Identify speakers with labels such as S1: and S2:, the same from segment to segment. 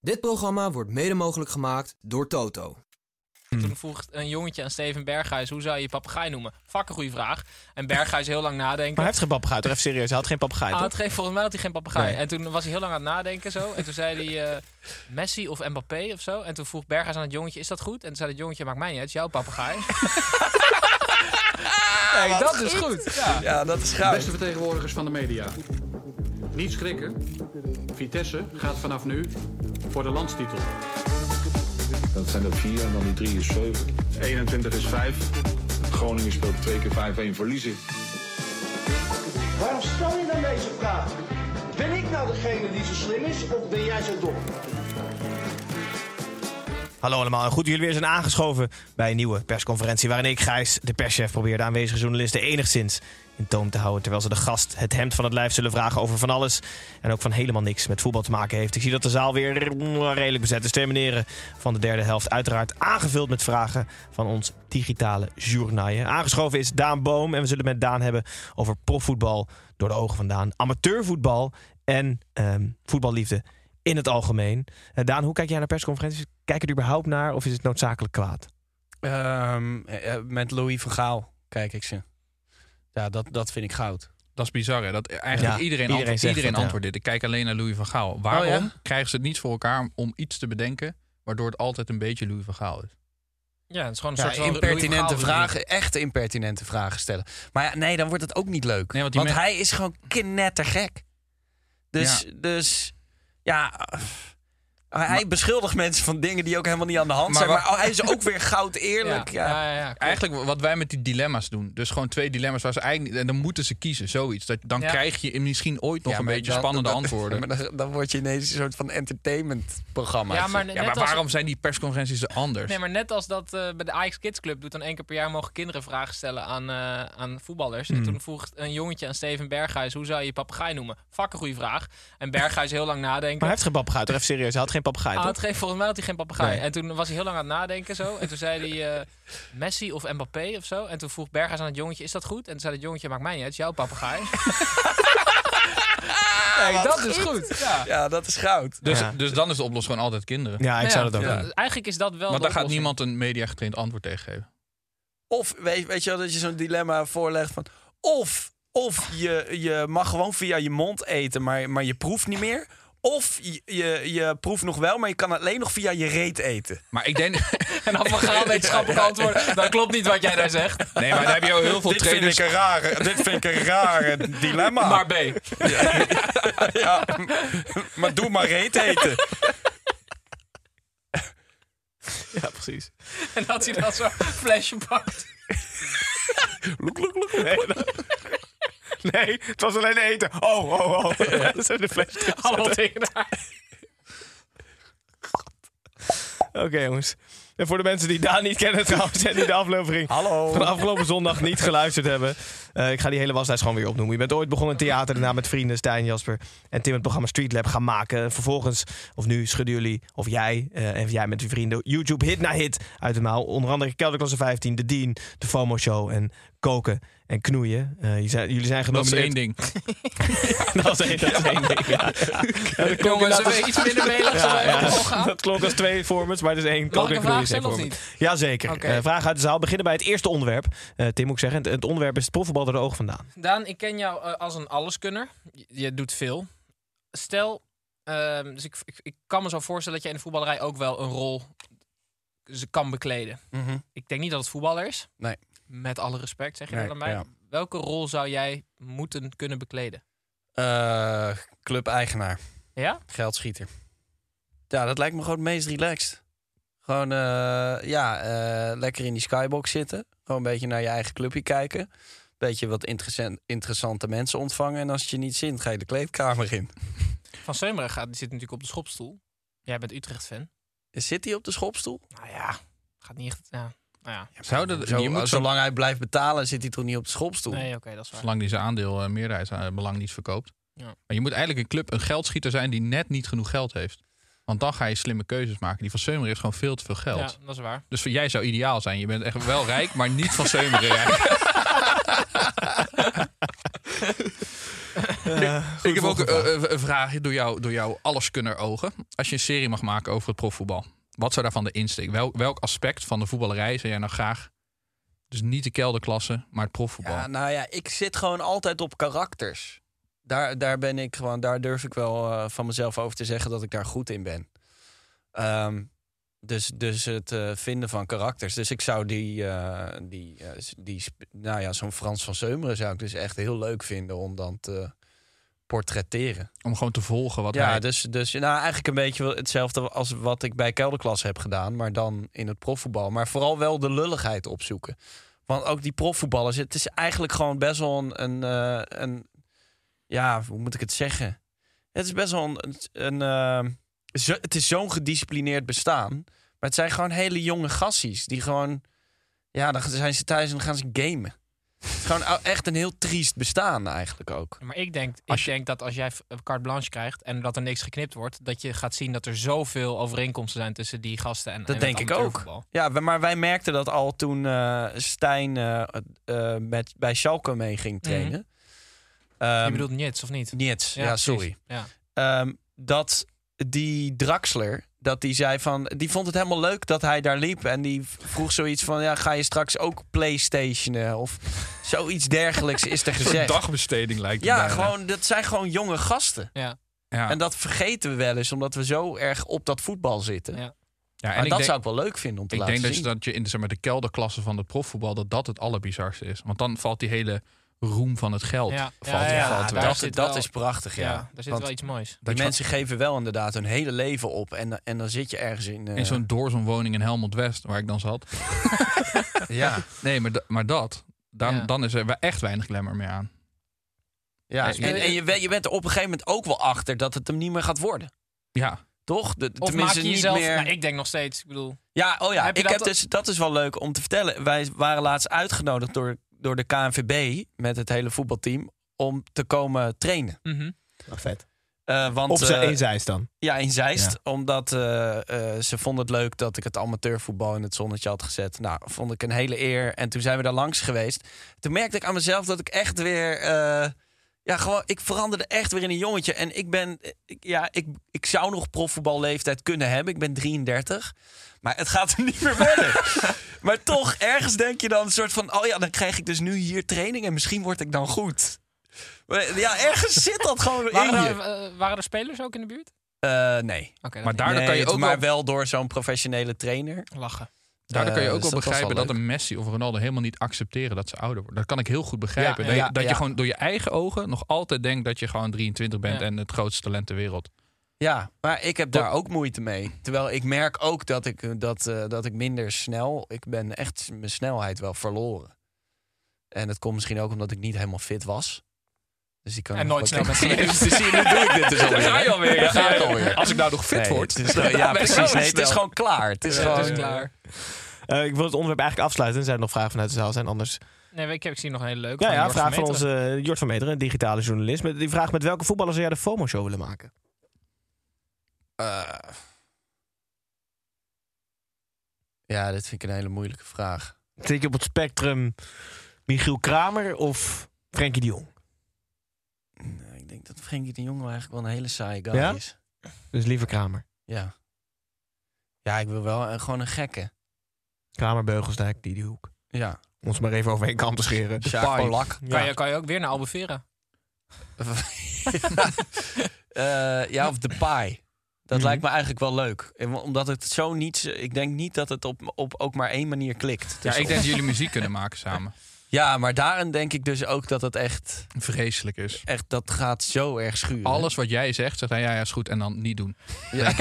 S1: Dit programma wordt mede mogelijk gemaakt door Toto.
S2: Toen vroeg een jongetje aan Steven Berghuis, hoe zou je je papegaai noemen? Fuck een goede vraag. En Berghuis heel lang nadenken.
S3: Maar hij heeft geen papegaai, toch? Even serieus, hij had geen papegaai,
S2: Ah,
S3: toch?
S2: het geeft volgens mij had hij geen papegaai.
S3: Nee.
S2: En toen was hij heel lang aan het nadenken zo. En toen zei hij eh, Messi of Mbappé of zo. En toen vroeg Berghuis aan het jongetje, is dat goed? En toen zei het jongetje, maakt mij niet uit, het is jouw papegaai. Kijk, dat is goed. Ja.
S3: Ja, dat is goud.
S4: Beste vertegenwoordigers van de media. Niet schrikken. Vitesse gaat vanaf nu voor de landstitel.
S5: Dat zijn er vier en dan die drie is zeven. 21 is vijf. Groningen speelt twee keer 5-1 verliezen.
S6: Waarom stel je dan deze vraag? Ben ik nou degene die zo slim is of ben jij zo dom?
S3: Hallo allemaal en goed dat jullie weer zijn aangeschoven bij een nieuwe persconferentie... waarin ik, Gijs, de perschef, probeer de aanwezige journalisten enigszins in toom te houden... terwijl ze de gast het hemd van het lijf zullen vragen over van alles... en ook van helemaal niks met voetbal te maken heeft. Ik zie dat de zaal weer mm, redelijk bezet is. Twee meneren van de derde helft uiteraard aangevuld met vragen van ons digitale journaaien. Aangeschoven is Daan Boom en we zullen het met Daan hebben over profvoetbal... door de ogen van Daan, amateurvoetbal en ehm, voetballiefde in het algemeen. Eh, Daan, hoe kijk jij naar persconferenties? Kijk je er überhaupt naar of is het noodzakelijk kwaad?
S7: Ehm, eh, eh, met Louis van Gaal kijk ik ze. Ja, dat, dat vind ik goud.
S8: Dat is bizar, hè? Dat eigenlijk
S3: Ja,
S8: iedereen,
S3: iedereen
S8: antwoordt
S3: zegt
S8: iedereen
S3: dat, ja.
S8: antwoordt dit. Ik kijk alleen naar Louis van Gaal. Waarom
S7: Oh, ja?
S8: krijgen ze het niet voor elkaar om- om iets te bedenken... waardoor het altijd een beetje Louis van Gaal is?
S2: ja, het is gewoon een
S7: Ja,
S2: soort van Louis
S7: impertinente
S2: van Gaal
S7: vragen, echt impertinente vragen stellen. Maar ja, nee, dan wordt het ook niet leuk.
S8: Nee, want
S7: want
S8: die men-
S7: hij is gewoon knettergek. Dus,
S8: Ja.
S7: dus ja... eh, hij beschuldigt mensen van dingen die ook helemaal niet aan de hand
S8: Maar
S7: zijn.
S8: wa-
S7: Maar oh, hij is ook weer goud
S2: Ja,
S7: eerlijk. Ja.
S2: ja, ja, ja, klopt.
S8: Eigenlijk wat wij met die dilemma's doen. Dus gewoon twee dilemma's waar ze eigenlijk... niet- En dan moeten ze kiezen, zoiets. Dat, dan
S2: Ja.
S8: krijg je misschien ooit nog
S7: Ja,
S8: een
S7: maar
S8: beetje
S7: dan-
S8: spannende
S7: dan-
S8: antwoorden.
S7: Maar dan, dan word je ineens een soort van entertainmentprogramma.
S2: Ja, maar net
S8: ja, maar
S2: als-
S8: waarom zijn die persconferenties anders?
S2: Nee, maar net als dat eh, bij de Ajax Kids Club doet, dan één keer per jaar mogen kinderen vragen stellen aan, eh, aan voetballers.
S3: Hmm.
S2: En toen vroeg een jongetje aan Steven Berghuis, hoe zou je je papegaai noemen? Fuck een goede vraag. En Berghuis heel lang nadenken.
S3: Maar hij heeft geen papegaai, toch? Even serieus, hij had geen papegaai,
S2: Ah,
S3: toch?
S2: het geeft, volgens mij had hij geen papegaai.
S3: Nee.
S2: En toen was hij heel lang aan het nadenken zo. En toen zei hij eh, Messi of Mbappé of zo. En toen vroeg Berghuis aan het jongetje, is dat goed? En toen zei het jongetje, maakt mij niet uit, het is jouw papegaai. Kijk, dat is goed. Ja.
S7: Ja, dat is goud.
S8: Dus,
S3: Ja.
S8: dus dan is de oplossing gewoon altijd kinderen.
S3: Ja, ik
S2: Nou
S3: zou
S2: ja,
S3: dat ook
S2: ja,
S3: doen.
S2: Eigenlijk is dat wel
S8: Want
S2: de
S8: daar gaat
S2: oplossing.
S8: niemand een media getraind antwoord tegen geven.
S7: Of weet, weet je wel dat je zo'n dilemma voorlegt van. Of, of je, je mag gewoon via je mond eten, maar, maar je proeft niet meer. Of je, je, je proeft nog wel, maar je kan alleen nog via je reet eten.
S8: Maar ik denk...
S2: En dan van Gaal wetenschappelijk antwoord, dat klopt niet wat jij daar zegt.
S8: Nee, maar daar heb je al heel veel
S7: Dit vind,
S8: trainers...
S7: ik een rare, dit vind ik een rare dilemma.
S2: Maar
S7: Maar,
S2: B.
S7: ja, maar doe maar reet eten.
S3: Ja, precies.
S2: En had hij dan zo'n flesje pakt.
S3: Nee, dat- nee, het was alleen eten. Oh, oh, oh. Dat zijn de fles.
S2: Allemaal tegen haar.
S3: Oké, jongens. En voor de mensen die Daan niet kennen trouwens en die de aflevering
S7: Hallo.
S3: van de afgelopen zondag niet geluisterd hebben. eh, ik ga die hele waslijst gewoon weer opnoemen. Je bent ooit begonnen in theater, daarna met vrienden Stijn, Jasper en Tim het programma Street Lab gaan maken. En vervolgens, of nu, schudden jullie, of jij eh, en jij met je vrienden, YouTube hit na hit uit de mouw. Onder andere Kelderklasse 15, De Dean, De FOMO Show en Koken en Knoeien. Eh, je zijn- jullie zijn
S8: Dat is
S3: genomineerd.
S8: één ding.
S3: Dat is één, dat is één ding, ja. Ja, dat klonk
S2: Jongens,
S3: inderdaad
S2: zullen we
S3: als-
S2: iets minder melig
S3: Ja,
S2: zijn?
S3: ja.
S2: Ja,
S3: Dat klonk als twee formats, maar het is één.
S2: Mag
S3: Koken
S2: ik
S3: en
S2: een
S3: Knoeien
S2: vraag
S3: is één
S2: stellen of
S3: format.
S2: niet?
S3: Jazeker.
S2: Oké.
S3: Eh, vragen uit de zaal. We beginnen bij het eerste onderwerp. Eh, Tim moet ik zeggen. Het, het onderwerp is het profvoetbal door de ogen vandaan.
S2: Daan, ik ken jou eh, als een alleskunner. Je, je doet veel. Stel, ehm, dus ik, ik, ik kan me zo voorstellen dat jij in de voetballerij ook wel een rol ze kan bekleden.
S7: Mhm.
S2: Ik denk niet dat het voetballer is.
S7: Nee.
S2: Met alle respect, zeg je
S7: Nee,
S2: dat aan mij.
S7: ja.
S2: Welke rol zou jij moeten kunnen bekleden?
S7: Eh, Club-eigenaar.
S2: Ja?
S7: Geldschieter. Ja, dat lijkt me gewoon het meest relaxed. Gewoon, eh, ja, eh, lekker in die skybox zitten. Gewoon een beetje naar je eigen clubje kijken.
S3: weet je, wat interessan- interessante mensen ontvangen. En als het je niet zint, ga je de kleedkamer in.
S2: Van Seumeren gaat, die zit natuurlijk op de schopstoel. Jij bent Utrecht-fan.
S3: Zit hij op de schopstoel?
S2: Nou ja, gaat niet echt... Ja. Nou ja.
S7: Zou dat,
S3: Zo,
S7: je moet zo,
S3: zolang hij blijft betalen, zit hij toch niet op de schopstoel?
S2: Nee, oké, dat is waar.
S7: zolang die zijn aandeel eh, meerderheidsbelang niet verkoopt.
S2: Ja.
S7: Maar je moet eigenlijk een club, een geldschieter zijn die net niet genoeg geld heeft. Want dan ga je slimme keuzes maken. Die van Seumer heeft gewoon veel te veel geld.
S2: Ja, dat is waar.
S7: Dus voor jij zou ideaal zijn. Je bent echt wel rijk, maar niet van Seumeren rijk. ik heb ook eh, eh, een vraagje door, jou, door jouw alleskunner ogen. Als je een serie mag maken over het profvoetbal. Wat zou daarvan de insteek? Welk, welk aspect van de voetballerij zou jij nou graag... Dus niet de kelderklasse, maar het profvoetbal.
S3: Ja, nou ja, ik zit gewoon altijd op karakters. Daar, daar ben ik gewoon, daar durf ik wel eh, van mezelf over te zeggen dat ik daar goed in ben. Ehm, dus, dus het eh, vinden van karakters. Dus ik zou die, eh, die, eh, s- die sp- nou ja, zo'n Frans van Seumeren zou ik dus echt heel leuk vinden om dan te portretteren.
S7: Om gewoon te volgen wat
S3: ja,
S7: hij...
S3: dus, dus nou, eigenlijk een beetje wel hetzelfde als wat ik bij kelderklas heb gedaan, maar dan in het profvoetbal. Maar vooral wel de lulligheid opzoeken. Want ook die profvoetballers, het is eigenlijk gewoon best wel een, een, eh, een ja, hoe moet ik het zeggen? Het is best wel een, een eh, zo- het is zo'n gedisciplineerd bestaan. Maar het zijn gewoon hele jonge gassies die gewoon, ja, dan zijn ze thuis en dan gaan ze gamen. Het is gewoon echt een heel triest bestaan eigenlijk ook.
S2: Maar ik denk, ik
S7: Als je-
S2: denk dat als jij eh, carte blanche krijgt en dat er niks geknipt wordt, dat je gaat zien dat er zoveel overeenkomsten zijn tussen die gasten en en
S3: Dat
S2: het
S3: denk ik ook.
S2: amateurvoetbal.
S3: Ja, we- maar wij merkten dat al toen eh, Stijn eh, eh, met, bij Schalke mee ging trainen. Ehm,
S2: je bedoelt Nits of niet?
S3: Niets, ja,
S2: precies.
S3: sorry.
S2: Ja.
S3: Ehm, dat die Draxler, dat die zei van... Die vond het helemaal leuk dat hij daar liep. En die vroeg zoiets van, ja, ga je straks ook Playstationen? Of zoiets dergelijks is er
S7: Een soort
S3: gezegd.
S7: dagbesteding lijkt het
S3: ja,
S7: bijna.
S3: gewoon, dat zijn gewoon jonge gasten.
S2: Ja.
S7: Ja.
S3: En dat vergeten we wel eens, omdat we zo erg op dat voetbal zitten.
S2: Ja.
S3: Maar
S7: Ja, en
S3: dat
S7: ik denk-
S3: zou ik wel leuk vinden om te
S7: Ik
S3: laten
S7: denk dat je,
S3: zien.
S7: dat je in zeg maar, de kelderklasse van het profvoetbal dat dat het allerbizarste is. Want dan valt die hele roem van het geld
S2: Ja.
S7: valt,
S2: Ja,
S7: valt
S2: daar
S7: weg.
S3: dat,
S2: zit
S3: dat
S2: wel-
S3: is prachtig, ja.
S2: Ja, daar zit
S3: Want
S2: wel iets moois.
S3: die
S7: Dat je
S3: mensen geven wel inderdaad hun hele leven op. En, eh, en dan zit je ergens in... eh,
S7: in zo'n door zo'n woning in Helmond West, waar ik dan zat.
S3: ja,
S7: Nee, maar, da- maar dat, dan,
S2: Ja.
S7: dan is er we- echt weinig glamour meer aan.
S3: ja.
S7: Dus
S3: En, en je, we- je bent er op een gegeven moment ook wel achter dat het hem niet meer gaat worden.
S7: Ja,
S3: Toch? De,
S2: Of maak
S3: tenminste
S2: je
S3: niet
S2: jezelf...
S3: meer...
S2: Nou, ik denk nog steeds, ik bedoel...
S3: Ja, oh ja.
S2: Heb je
S3: ik
S2: dat
S3: heb
S2: al-
S3: dus, dat is wel leuk om te vertellen. Wij waren laatst uitgenodigd door, door de KNVB met het hele voetbalteam om te komen trainen.
S2: mhm.
S9: Nou, vet.
S3: Eh, want,
S9: Op zijn
S3: eh,
S9: eenzijds dan.
S3: Ja, in Zeist. Omdat eh, eh, ze vonden het leuk dat ik het amateurvoetbal in het zonnetje had gezet. Nou, vond ik een hele eer. En toen zijn we daar langs geweest. Toen merkte ik aan mezelf dat ik echt weer... eh, ja, gewoon, ik veranderde echt weer in een jongetje. En ik ben... Ik, ja, ik, ik zou nog profvoetballeeftijd kunnen hebben. Ik ben 33. Maar het gaat er niet meer worden. maar toch, ergens denk je dan een soort van... Oh ja, dan krijg ik dus nu hier training en misschien word ik dan goed. Maar Ja, ergens zit dat gewoon in
S2: Waren,
S3: je.
S2: er, eh, waren er spelers ook in de buurt?
S3: Eh, nee.
S2: Oké,
S7: maar
S2: maar
S7: daardoor
S3: Nee,
S7: kan je
S3: het-
S7: ook
S3: maar
S7: wel,
S3: wel, door zo'n professionele trainer.
S2: lachen.
S7: daardoor kan je
S3: Eh,
S7: ook
S3: dus
S7: wel
S3: dat was wel
S7: begrijpen dat
S3: leuk.
S7: een Messi of Ronaldo helemaal niet accepteren dat ze ouder worden. Dat kan ik heel goed begrijpen.
S2: Ja,
S7: dat
S3: ja,
S7: je, dat
S3: ja.
S7: je gewoon door je eigen ogen nog altijd denkt dat je gewoon 23 bent
S2: Ja.
S3: eh,
S7: en het grootste talent ter wereld.
S3: Ja, maar ik heb daar ook moeite mee. Terwijl ik merk ook dat ik, eh, dat, eh, dat ik minder snel... Ik ben echt mijn snelheid wel verloren. En dat komt misschien ook omdat ik niet helemaal fit was. Dus ik kan
S2: En
S3: nog
S2: nooit
S3: wat-
S2: snel bent geweest.
S3: Dus zie je, nu doe ik dit dus alweer.
S7: Ga je alweer, ja.
S3: Ga ik alweer.
S7: Als ik nou nog fit
S3: Nee,
S7: word,
S3: het is- ja,
S7: ben ik wel
S3: precies. Nee, het
S7: snel.
S3: is gewoon klaar. Het is
S2: Ja,
S3: gewoon...
S2: het is klaar.
S9: Eh, ik wil het onderwerp eigenlijk afsluiten. Zijn er nog vragen vanuit de zaal? Zijn anders.
S2: Nee, ik, heb, ik zie nog een hele leuke.
S9: Ja,
S2: van
S9: ja
S2: Jort
S9: vraag van
S2: Meteren.
S9: onze eh, Jort van Meteren, een digitale journalist. Met, die vraagt met welke voetballer zou jij de FOMO-show willen maken?
S3: Eh, ja, dit vind ik een hele moeilijke vraag.
S9: Zit je op het spectrum Michiel Kramer of Frenkie de Jong?
S3: Nou, ik denk dat Frenkie de Jong wel eigenlijk wel een hele saaie guy
S9: Ja?
S3: is.
S9: Dus liever Kramer.
S3: Ja. Ja, ik wil wel eh, gewoon een gekke.
S9: Kramer, Beugelsdijk, die, die hoek.
S3: Ja.
S9: Om ons maar even overheen kam te scheren.
S3: Sjaak Polak.
S2: Kan, je, kan je ook weer naar Albufeira?
S3: Eh, ja, of de pie. Dat
S9: Mhm.
S3: lijkt me eigenlijk wel leuk. En Omdat het zo niet... Ik denk niet dat het op, op ook maar één manier klikt.
S7: Ja,
S3: Dus
S7: ik denk dat jullie muziek kunnen maken samen.
S3: ja, maar daarin denk ik dus ook dat het echt...
S7: Vreselijk is.
S3: echt dat gaat zo erg schuren.
S7: Alles wat jij zegt, zegt hij ja, ja, is goed en dan niet doen.
S3: Ja.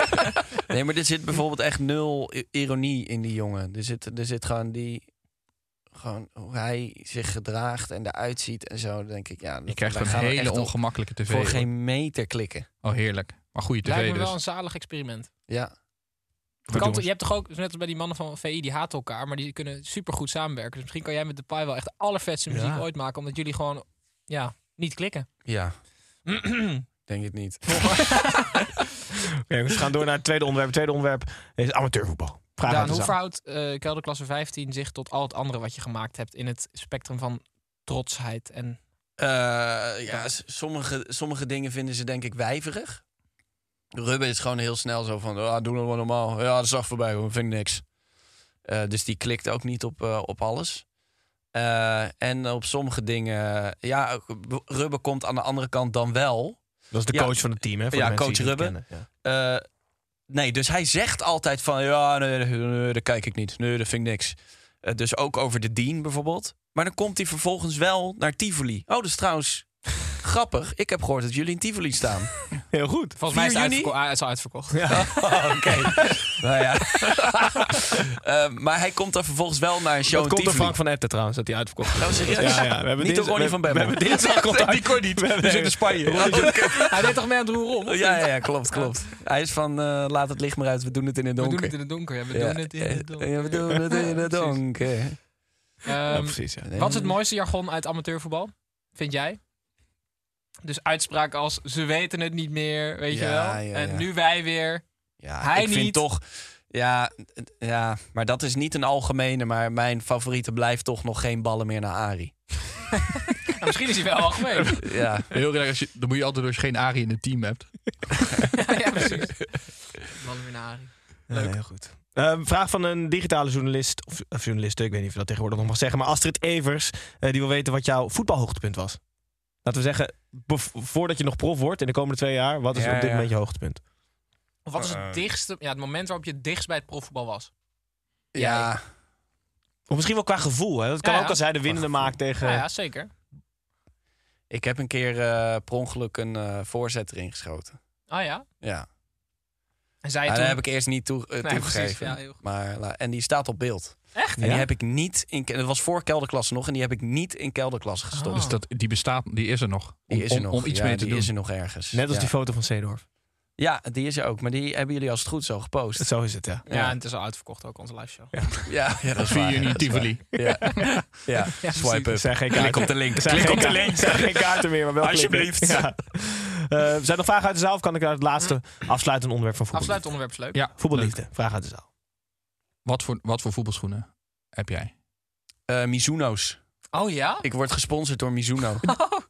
S3: nee, maar er zit bijvoorbeeld echt nul i- ironie in die jongen. Er zit, er zit gewoon die... gewoon hoe hij zich gedraagt en eruit ziet en zo, dan denk ik, ja...
S7: Je krijgt een hele ongemakkelijke tv.
S3: Voor
S7: hoor.
S3: geen meter klikken.
S7: Oh, heerlijk. Maar goede tv
S2: Lijkt me
S7: dus.
S2: wel een zalig experiment.
S3: Ja.
S2: Kan
S7: jongens.
S2: toch- je hebt toch ook, net als bij die mannen van VI, die haten elkaar, maar die kunnen supergoed samenwerken. Dus misschien kan jij met de Pai wel echt de allervetste muziek
S3: Ja.
S2: ooit maken, omdat jullie gewoon ja, niet klikken.
S3: Ja. Denk het niet.
S10: Oké, we gaan door naar het tweede onderwerp. Het tweede onderwerp is amateurvoetbal. Vraag
S2: Daan,
S10: uit de zaal.
S2: hoe verhoudt eh kelderklasse 15 zich tot al het andere wat je gemaakt hebt in het spectrum van trotsheid en
S3: Eh, ja, s- sommige, sommige dingen vinden ze denk ik wijverig. Ruben is gewoon heel snel zo van, ah, doe dat maar normaal. Ja, dat zag voorbij, hoor. vind ik niks. Eh, dus die klikt ook niet op, eh, op alles. Eh, en op sommige dingen, ja, ook- Ruben komt aan de andere kant dan wel.
S10: Dat is de
S3: Ja.
S10: coach van het team, hè? Voor
S3: ja,
S10: de mensen
S3: coach
S10: die het niet
S3: Ruben.
S10: kennen.
S3: Eh, nee, dus hij zegt altijd van... ja, nee, nee, nee, dat kijk ik niet. Nee, dat vind ik niks. Eh, dus ook over de Dean bijvoorbeeld. Maar dan komt hij vervolgens wel naar Tivoli. Oh, dat is trouwens grappig. Ik heb gehoord dat jullie in Tivoli staan.
S10: Ja. Heel goed.
S2: Volgens mij is
S3: 4
S2: het,
S3: juni?
S2: uitverko- ah, het is al uitverkocht.
S3: Oh, Oké. nou ja. Eh, maar hij komt dan vervolgens wel naar een show
S10: Dat
S3: in
S10: komt door
S3: Tivoli.
S10: Frank van Etten trouwens, dat hij uitverkocht is.
S3: Oh, serieus?
S10: Ja, ja. We hebben
S3: Niet door
S10: dinsdag-
S3: Ronnie van Bemmel.
S10: We hebben dinsdag contact.
S3: Die kon niet.
S10: We hebben-
S3: Die zit in Spanje.
S2: Hij deed toch mee aan het roer om? of
S3: Ja,
S2: niet?
S3: ja, ja, klopt, klopt. Hij is van eh, laat het licht maar uit, we doen het in het
S2: We
S3: donker.
S2: doen het in het donker. Ja, we
S3: Ja, eh,
S2: doen het in het donker.
S3: ja, we doen het in het
S2: Precies.
S3: donker.
S10: Ja,
S2: Ehm,
S10: precies, ja.
S2: Wat is het mooiste jargon uit amateurvoetbal? Vind jij? Dus uitspraken als ze weten het niet meer, weet je
S3: Ja,
S2: wel.
S3: ja,
S2: En
S3: ja.
S2: nu wij weer.
S3: Ja,
S2: Hij
S3: ik vind
S2: niet.
S3: toch. Ja, het- ja, maar dat is niet een algemene. Maar mijn favoriete blijft toch nog geen ballen meer naar Ari.
S2: Nou, misschien is hij wel algemeen.
S3: Ja,
S7: Heel erg, als je, dan moet je altijd als je geen Arie in het team hebt.
S2: ja, precies. Man weer naar Arie.
S10: Leuk. heel goed. Eh, vraag van een digitale journalist, of, of journaliste, ik weet niet of je dat tegenwoordig nog mag zeggen, maar Astrid Evers, eh, die wil weten wat jouw voetbalhoogtepunt was. Laten we zeggen, bev- voordat je nog prof wordt in de komende twee jaar, wat is op
S3: Ja,
S10: dit
S3: ja.
S10: moment je hoogtepunt?
S2: Of wat is het dichtste, ja, het moment waarop je het dichtst bij het profvoetbal was?
S3: ja,
S10: Of misschien wel qua gevoel. Hè? Dat kan
S2: Ja, ja.
S10: ook als hij de winnende maakt tegen...
S2: Ja, Ah, ja, zeker.
S3: ik heb een keer eh, per ongeluk een eh, voorzet erin geschoten.
S2: Ah ja.
S3: Ja,
S2: En zij
S3: Ja,
S2: toen...
S3: dat heb ik eerst niet toe, eh, toegegeven.
S2: precies. Ja, heel goed.
S3: maar, la- en die staat op beeld.
S2: Echt?
S3: En die heb ik niet in. ke- Dat was voor kelderklasse nog. En die heb ik niet in kelderklasse gestopt.
S7: Dus dat, die bestaat, die is er nog. Om,
S3: die is er
S7: om-
S3: nog.
S7: om iets
S3: Ja,
S7: mee te
S3: die
S7: doen.
S3: is er nog ergens.
S10: Net als
S3: ja.
S10: die foto van Seedorf.
S3: Ja, die is er ook. Maar die hebben jullie als het goed zo gepost.
S10: Zo is het, ja.
S2: ja. en het is al uitverkocht ook, onze live show.
S3: Ja, ja dat is
S7: 4
S3: waar,
S7: juni
S3: ja, dat is
S7: Tivoli.
S3: waar. Ja, ja. swipe
S10: Er
S3: up.
S10: Dus zijn geen kaarten.
S3: Klik op de link.
S10: Er zijn
S3: Klik
S10: geen
S3: op de
S10: kaarten. Er
S3: link.
S10: zijn geen kaarten meer, maar wel klikken.
S3: Alsjeblieft.
S10: Ja. Eh, zijn er nog vragen uit de zaal of kan ik naar het laatste afsluitend onderwerp van voetbal?
S2: Afsluit onderwerp is leuk.
S7: Ja,
S10: Voetballiefde, vraag uit de zaal.
S7: Wat voor, wat voor voetbalschoenen heb jij?
S3: Eh, Mizuno's.
S2: Oh ja?
S3: Ik word gesponsord door Mizuno.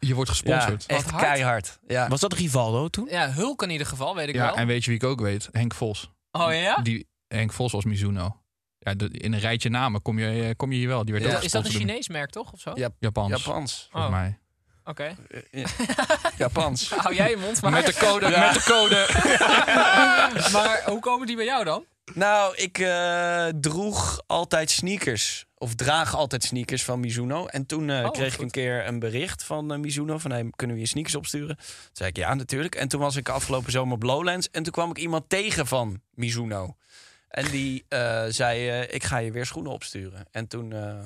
S7: Je wordt
S3: ja,
S7: gesponsord. Ja,
S3: echt
S2: hard.
S3: keihard. Ja.
S10: Was dat Rivaldo toen?
S2: Ja, Hulk in ieder geval, weet ik wel.
S7: en weet je wie ik ook weet? Henk Vos.
S2: Oh ja?
S7: Die, Henk Vos was Mizuno. Ja, de- in een rijtje namen kom je, eh, kom je hier wel. Die werd
S3: Ja.
S7: ook
S2: Is dat een
S7: gesponsord door
S2: Chinees merk, toch? Of zo?
S3: Ja,
S7: Japans,
S3: Japans.
S7: volgens
S2: Oh.
S7: mij.
S2: Oké.
S3: Japans.
S2: Hou jij je mond maar.
S3: Met de code. Met de code.
S2: Maar hoe komen die bij jou dan?
S3: nou, ik eh, droeg altijd sneakers. Of draag altijd sneakers van Mizuno. En toen eh,
S2: Oh,
S3: kreeg ik
S2: goed.
S3: een keer een bericht van eh, Mizuno. Van, hey, kunnen we je sneakers opsturen? Toen zei ik, ja, natuurlijk. En toen was ik afgelopen zomer op Lowlands. En toen kwam ik iemand tegen van Mizuno. En die eh, zei, eh, ik ga je weer schoenen opsturen. En toen eh,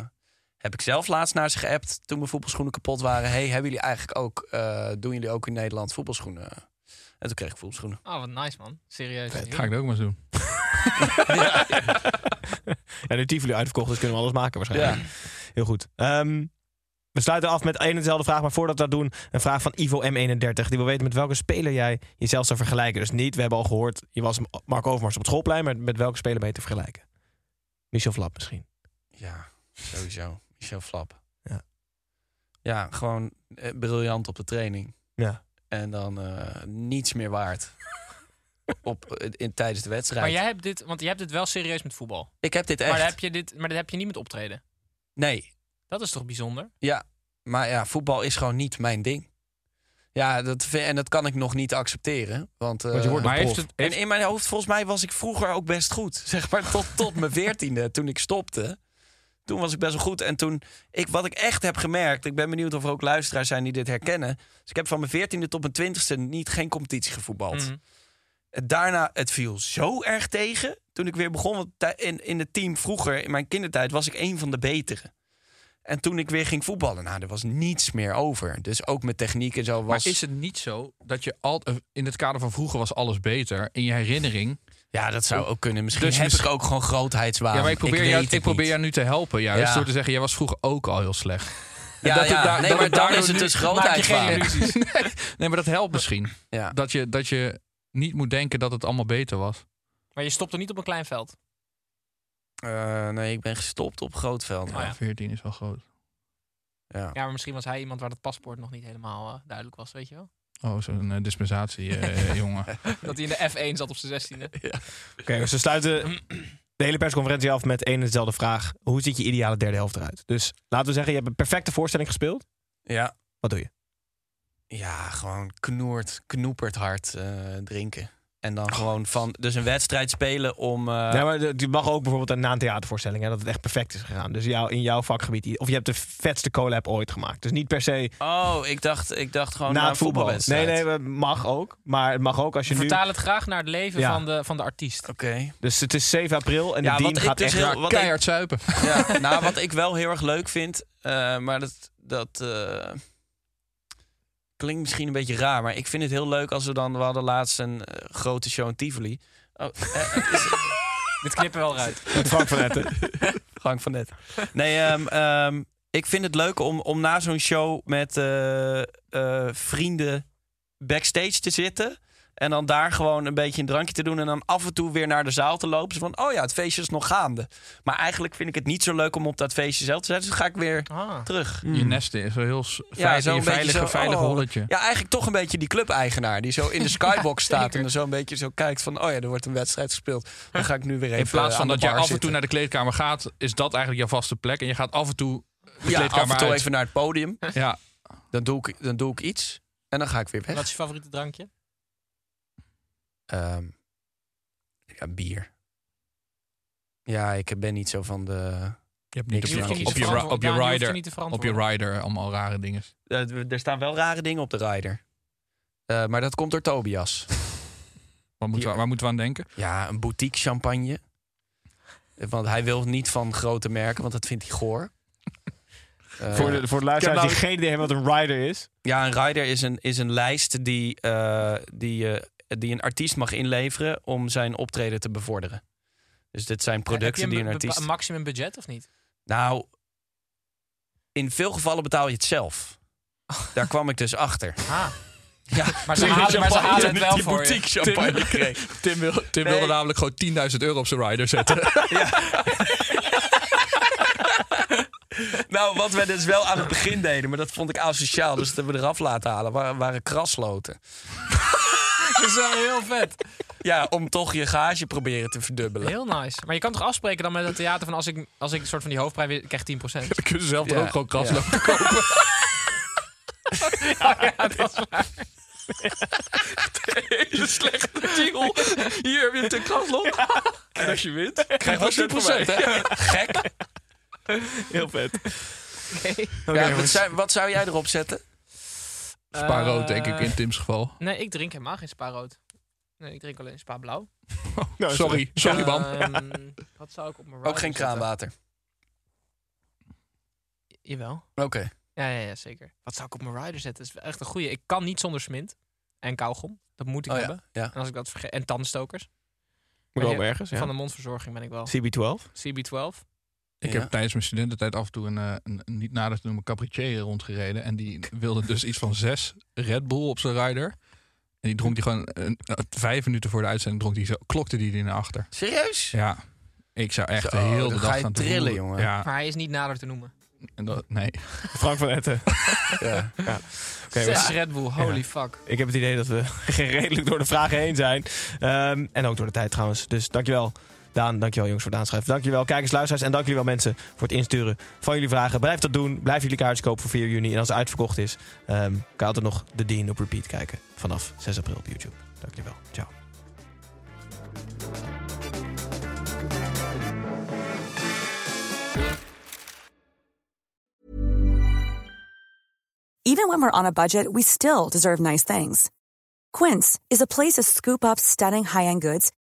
S3: heb ik zelf laatst naar ze geappt. Toen mijn voetbalschoenen kapot waren. hey, hebben jullie eigenlijk ook... eh, doen jullie ook in Nederland voetbalschoenen? En toen kreeg ik voetbalschoenen.
S2: Oh, wat nice man. Serieus.
S7: Dat ga ik dat ook maar eens doen.
S10: Ja, nu Tivoli uitverkocht, dus kunnen we alles maken waarschijnlijk.
S3: Ja.
S10: Heel goed. Ehm, we sluiten af met één en dezelfde vraag, maar voordat we dat doen, een vraag van Ivo M31. Die wil weten met welke speler jij jezelf zou vergelijken. Dus niet, we hebben al gehoord, je was Marco Overmars op het schoolplein, maar met welke speler ben je te vergelijken? Michel Flap misschien.
S3: Ja, sowieso. Michel Flap.
S10: Ja.
S3: Ja, gewoon eh, briljant op de training.
S10: Ja.
S3: En dan eh, niets meer waard. op, eh, in, tijdens de wedstrijd.
S2: Maar jij hebt dit, want je hebt dit wel serieus met voetbal.
S3: Ik heb dit
S2: Maar,
S3: echt.
S2: daar heb je dit, maar dat heb je niet met optreden.
S3: Nee,
S2: Dat is toch bijzonder?
S3: ja. Maar ja, voetbal is gewoon niet mijn ding. Ja, dat vind- en dat kan ik nog niet accepteren. Want, eh,
S10: Want je wordt
S7: maar
S10: een
S7: heeft
S10: prof.
S7: het, heeft-
S3: En in mijn hoofd, volgens mij, was ik vroeger ook best goed. Zeg maar tot, tot mijn veertiende, toen ik stopte. Toen was ik best wel goed. En toen, ik, wat ik echt heb gemerkt, ik ben benieuwd of er ook luisteraars zijn die dit herkennen. Dus ik heb van mijn veertiende tot mijn twintigste niet geen competitie gevoetbald.
S2: Mhm.
S3: En Daarna, het viel zo erg tegen. Toen ik weer begon want tij- in, in het team vroeger, in mijn kindertijd, was ik een van de betere. En toen ik weer ging voetballen, nou, er was niets meer over. Dus ook met techniek en zo was...
S8: Maar is het niet zo dat je al eh, in het kader van vroeger was alles beter in je herinnering?
S3: Ja, dat zou ook kunnen. Misschien heb ik ook gewoon grootheidswaan.
S8: Dus Ja, maar ik probeer,
S3: Ah, Ik
S8: jou,
S3: weet
S8: ik
S3: het
S8: probeer
S3: niet.
S8: jou nu te helpen. Juist,
S3: Ja.
S8: Door te zeggen, jij was vroeger ook al heel slecht.
S3: Ja,
S8: het
S3: ja.
S8: daar-
S3: Nee, maar
S8: het
S3: dan
S8: daardoor
S3: is het
S8: nu-
S3: dus
S8: Maak je geen
S3: grootheidswaan.
S8: illusies. Nee, maar dat helpt misschien. Dat, je, dat je niet moet denken dat het allemaal beter was.
S2: Maar je stopt er niet op een klein veld.
S3: Eh, nee, ik ben gestopt op grootveld.
S8: Oh, Ja, 14 is wel groot.
S3: Ja.
S2: Ja, maar misschien was hij iemand waar dat paspoort nog niet helemaal eh, duidelijk was, weet je wel?
S8: Oh, zo'n eh, dispensatie, eh, jongen.
S2: Dat hij in de F1 zat op zijn 16e.
S7: Oké, dus we sluiten de hele persconferentie af met één en dezelfde vraag. Hoe ziet je ideale derde helft eruit? Dus laten we zeggen, je hebt een perfecte voorstelling gespeeld.
S3: Ja.
S7: Wat doe je?
S3: Ja, gewoon knoert, knoeperd hard eh, drinken. En
S8: Oh.
S3: dan gewoon van, dus een wedstrijd spelen om. eh,
S7: ja, maar het mag ook bijvoorbeeld na een theatervoorstelling, hè, dat het echt perfect is gegaan. Dus jou, in jouw vakgebied. Of je hebt de vetste collab ooit gemaakt. Dus niet per se
S3: Oh, ik dacht, ik dacht gewoon
S7: na
S3: na
S7: het voetbal. Nee, nee, het mag ook. Maar het mag ook als je nu...
S2: Vertaal het graag naar het leven
S7: Ja.
S2: van, de, van de artiest.
S3: Oké.
S7: Dus het is 7 april en
S3: Ja,
S7: de
S3: wat
S7: Dean
S3: ik
S7: gaat
S3: dus
S7: echt
S3: heel-
S7: raak-
S3: wat ik-
S7: keihard
S8: Keihard zuipen.
S3: Ja, nou, wat ik wel heel erg leuk vind, eh, maar dat, dat eh, klinkt misschien een beetje raar, maar ik vind het heel leuk als we dan, we hadden laatst een eh, grote show in Tivoli. Oh, eh, is-
S2: Dit knippen we wel eruit.
S7: met Frank van Etten.
S3: Frank van Net. Nee, ehm, ehm, ik vind het leuk om, om na zo'n show met eh, eh, vrienden backstage te zitten. En dan daar gewoon een beetje een drankje te doen. En dan af en toe weer naar de zaal te lopen. Zo van, oh ja, het feestje is nog gaande. Maar eigenlijk vind ik het niet zo leuk om op dat feestje zelf te zijn. Dus dan ga ik weer
S2: Ah.
S3: terug. Mm.
S8: Je nesten is wel heel s-
S3: Ja,
S8: veilig, je veilige, veilig
S3: oh.
S8: holletje.
S3: Ja, eigenlijk toch een beetje die clubeigenaar die zo in de skybox staat. En dan zo een beetje zo kijkt van, oh ja, er wordt een wedstrijd gespeeld. Dan ga ik nu weer even
S8: In plaats
S3: aan
S10: eh,
S8: van
S3: de
S8: dat je
S3: bar
S8: af en
S3: zitten.
S8: toe naar de kleedkamer gaat, is dat eigenlijk jouw vaste plek. En je gaat af en toe de
S3: ja,
S8: kleedkamer
S3: af en toe
S8: uit.
S3: even naar het podium.
S8: Ja,
S3: Dan doe, ik, dan doe ik iets en dan ga ik weer weg.
S2: Wat is je favoriete drankje?
S3: Ehm, ja, bier. Ja, ik ben niet zo van de...
S8: je hebt niet
S3: Niks
S8: op je,
S3: meer
S8: op,
S3: te
S8: je,
S2: verantwoorden.
S8: op je
S2: Ja, je hoeft je
S8: rider,
S2: niet te
S8: op je
S2: verantwoorden.
S8: rider allemaal rare dingen.
S3: Eh, er staan wel rare dingen op de rider. Eh, maar dat komt door Tobias.
S8: Waar moeten, we, waar moeten we aan denken?
S3: Ja, een boutique champagne. Eh, Want hij wil niet van grote merken, want dat vindt hij goor. Eh,
S7: Voor de, voor de
S3: Ik heb
S7: luisteraars
S3: nou-
S7: die geen idee hebben wat een rider is.
S3: Ja, een rider is een, is een lijst die, eh, die, eh, die een artiest mag inleveren om zijn optreden te bevorderen. Dus dit zijn
S2: Heb je
S3: producten
S2: een,
S3: die een
S2: be-
S3: artiest...
S2: een maximum budget of niet?
S3: Nou, in veel gevallen betaal je het zelf. Daar kwam ik dus achter.
S2: Ah.
S3: Ja,
S2: Maar ze halen, maar ze halen het wel voor je.
S3: champagne kreeg.
S8: Tim, wil, Tim wilde namelijk gewoon 10.000 euro op zijn rider zetten.
S3: Nou, wat we dus wel aan het begin deden, maar dat vond ik asociaal, dus dat hebben we eraf laten halen, waren, waren krasloten.
S2: Dat is wel heel vet.
S3: Ja, om toch je gage proberen te verdubbelen.
S2: Heel nice. Maar je kan toch afspreken dan met het theater van als ik, als ik een soort van die hoofdprijs win, krijg ik 10%.
S8: Dan kunnen ze zelf
S3: Ja,
S8: er ook gewoon
S3: ja.
S8: kraslopen
S3: Hele slechte deal. Hier heb je het een kraslot. En als je wint, krijg je 10%. hè? Gek.
S7: Heel vet.
S3: Ja, wat, zou, wat zou jij erop zetten?
S8: Spa rood, denk ik,
S2: Eh,
S8: in Tim's geval.
S2: Nee, ik drink helemaal geen spa rood. Nee, ik drink alleen spa blauw.
S7: Nou,
S8: Sorry, sorry man.
S2: Ehm, wat zou ik op mijn rider
S3: Ook
S2: zetten?
S3: geen kraanwater.
S2: Jawel.
S3: Oké.
S2: Ja, ja, ja, zeker. Wat zou ik op mijn rider zetten? Dat is echt een goeie. Ik kan niet zonder smint. En kauwgom. Dat moet ik
S3: Oh ja,
S2: hebben.
S3: ja.
S2: En als ik dat vergeet. En tandstokers.
S7: Moet
S2: Maar
S7: ook
S2: je-
S7: ergens, ja.
S2: Van de mondverzorging ben ik wel.
S7: CB12.
S2: CB12.
S8: Ik
S3: Ja.
S8: heb tijdens mijn studententijd af en toe een, eh, een, een niet nader te noemen cabaretier rondgereden. En die wilde dus iets van zes Red Bull op zijn rider. En die dronk die gewoon een, nou, vijf minuten voor de uitzending dronk die zo, klokte die die naar achter.
S3: Serieus?
S8: Ja, ik zou echt
S3: Zo,
S8: de hele
S3: dan
S8: dag
S3: ga je
S8: staan te
S3: trillen,
S8: roeren.
S3: jongen.
S8: Ja,
S7: Ah.
S2: Maar hij is niet nader te noemen.
S8: en dat, nee.
S7: Frank van Etten.
S3: Ja.
S7: Oké,
S2: Zes
S7: we-
S2: Red Bull, holy fuck.
S7: ik heb het idee dat we redelijk door de vragen heen zijn. Ehm, en ook door de tijd trouwens. Dus dankjewel Daan, dankjewel jongens voor het aanschrijven. Dankjewel kijkers, luisteraars en dankjewel mensen voor het insturen van jullie vragen. Blijf dat doen. Blijf jullie kaartjes kopen voor 4 juni. En als het uitverkocht is, ehm kan je altijd nog de Dean op repeat kijken. Vanaf 6 april op YouTube. Dankjewel. Ciao.
S11: Even when we're on a budget, we still deserve nice things. Quince is a place to scoop up stunning high-end goods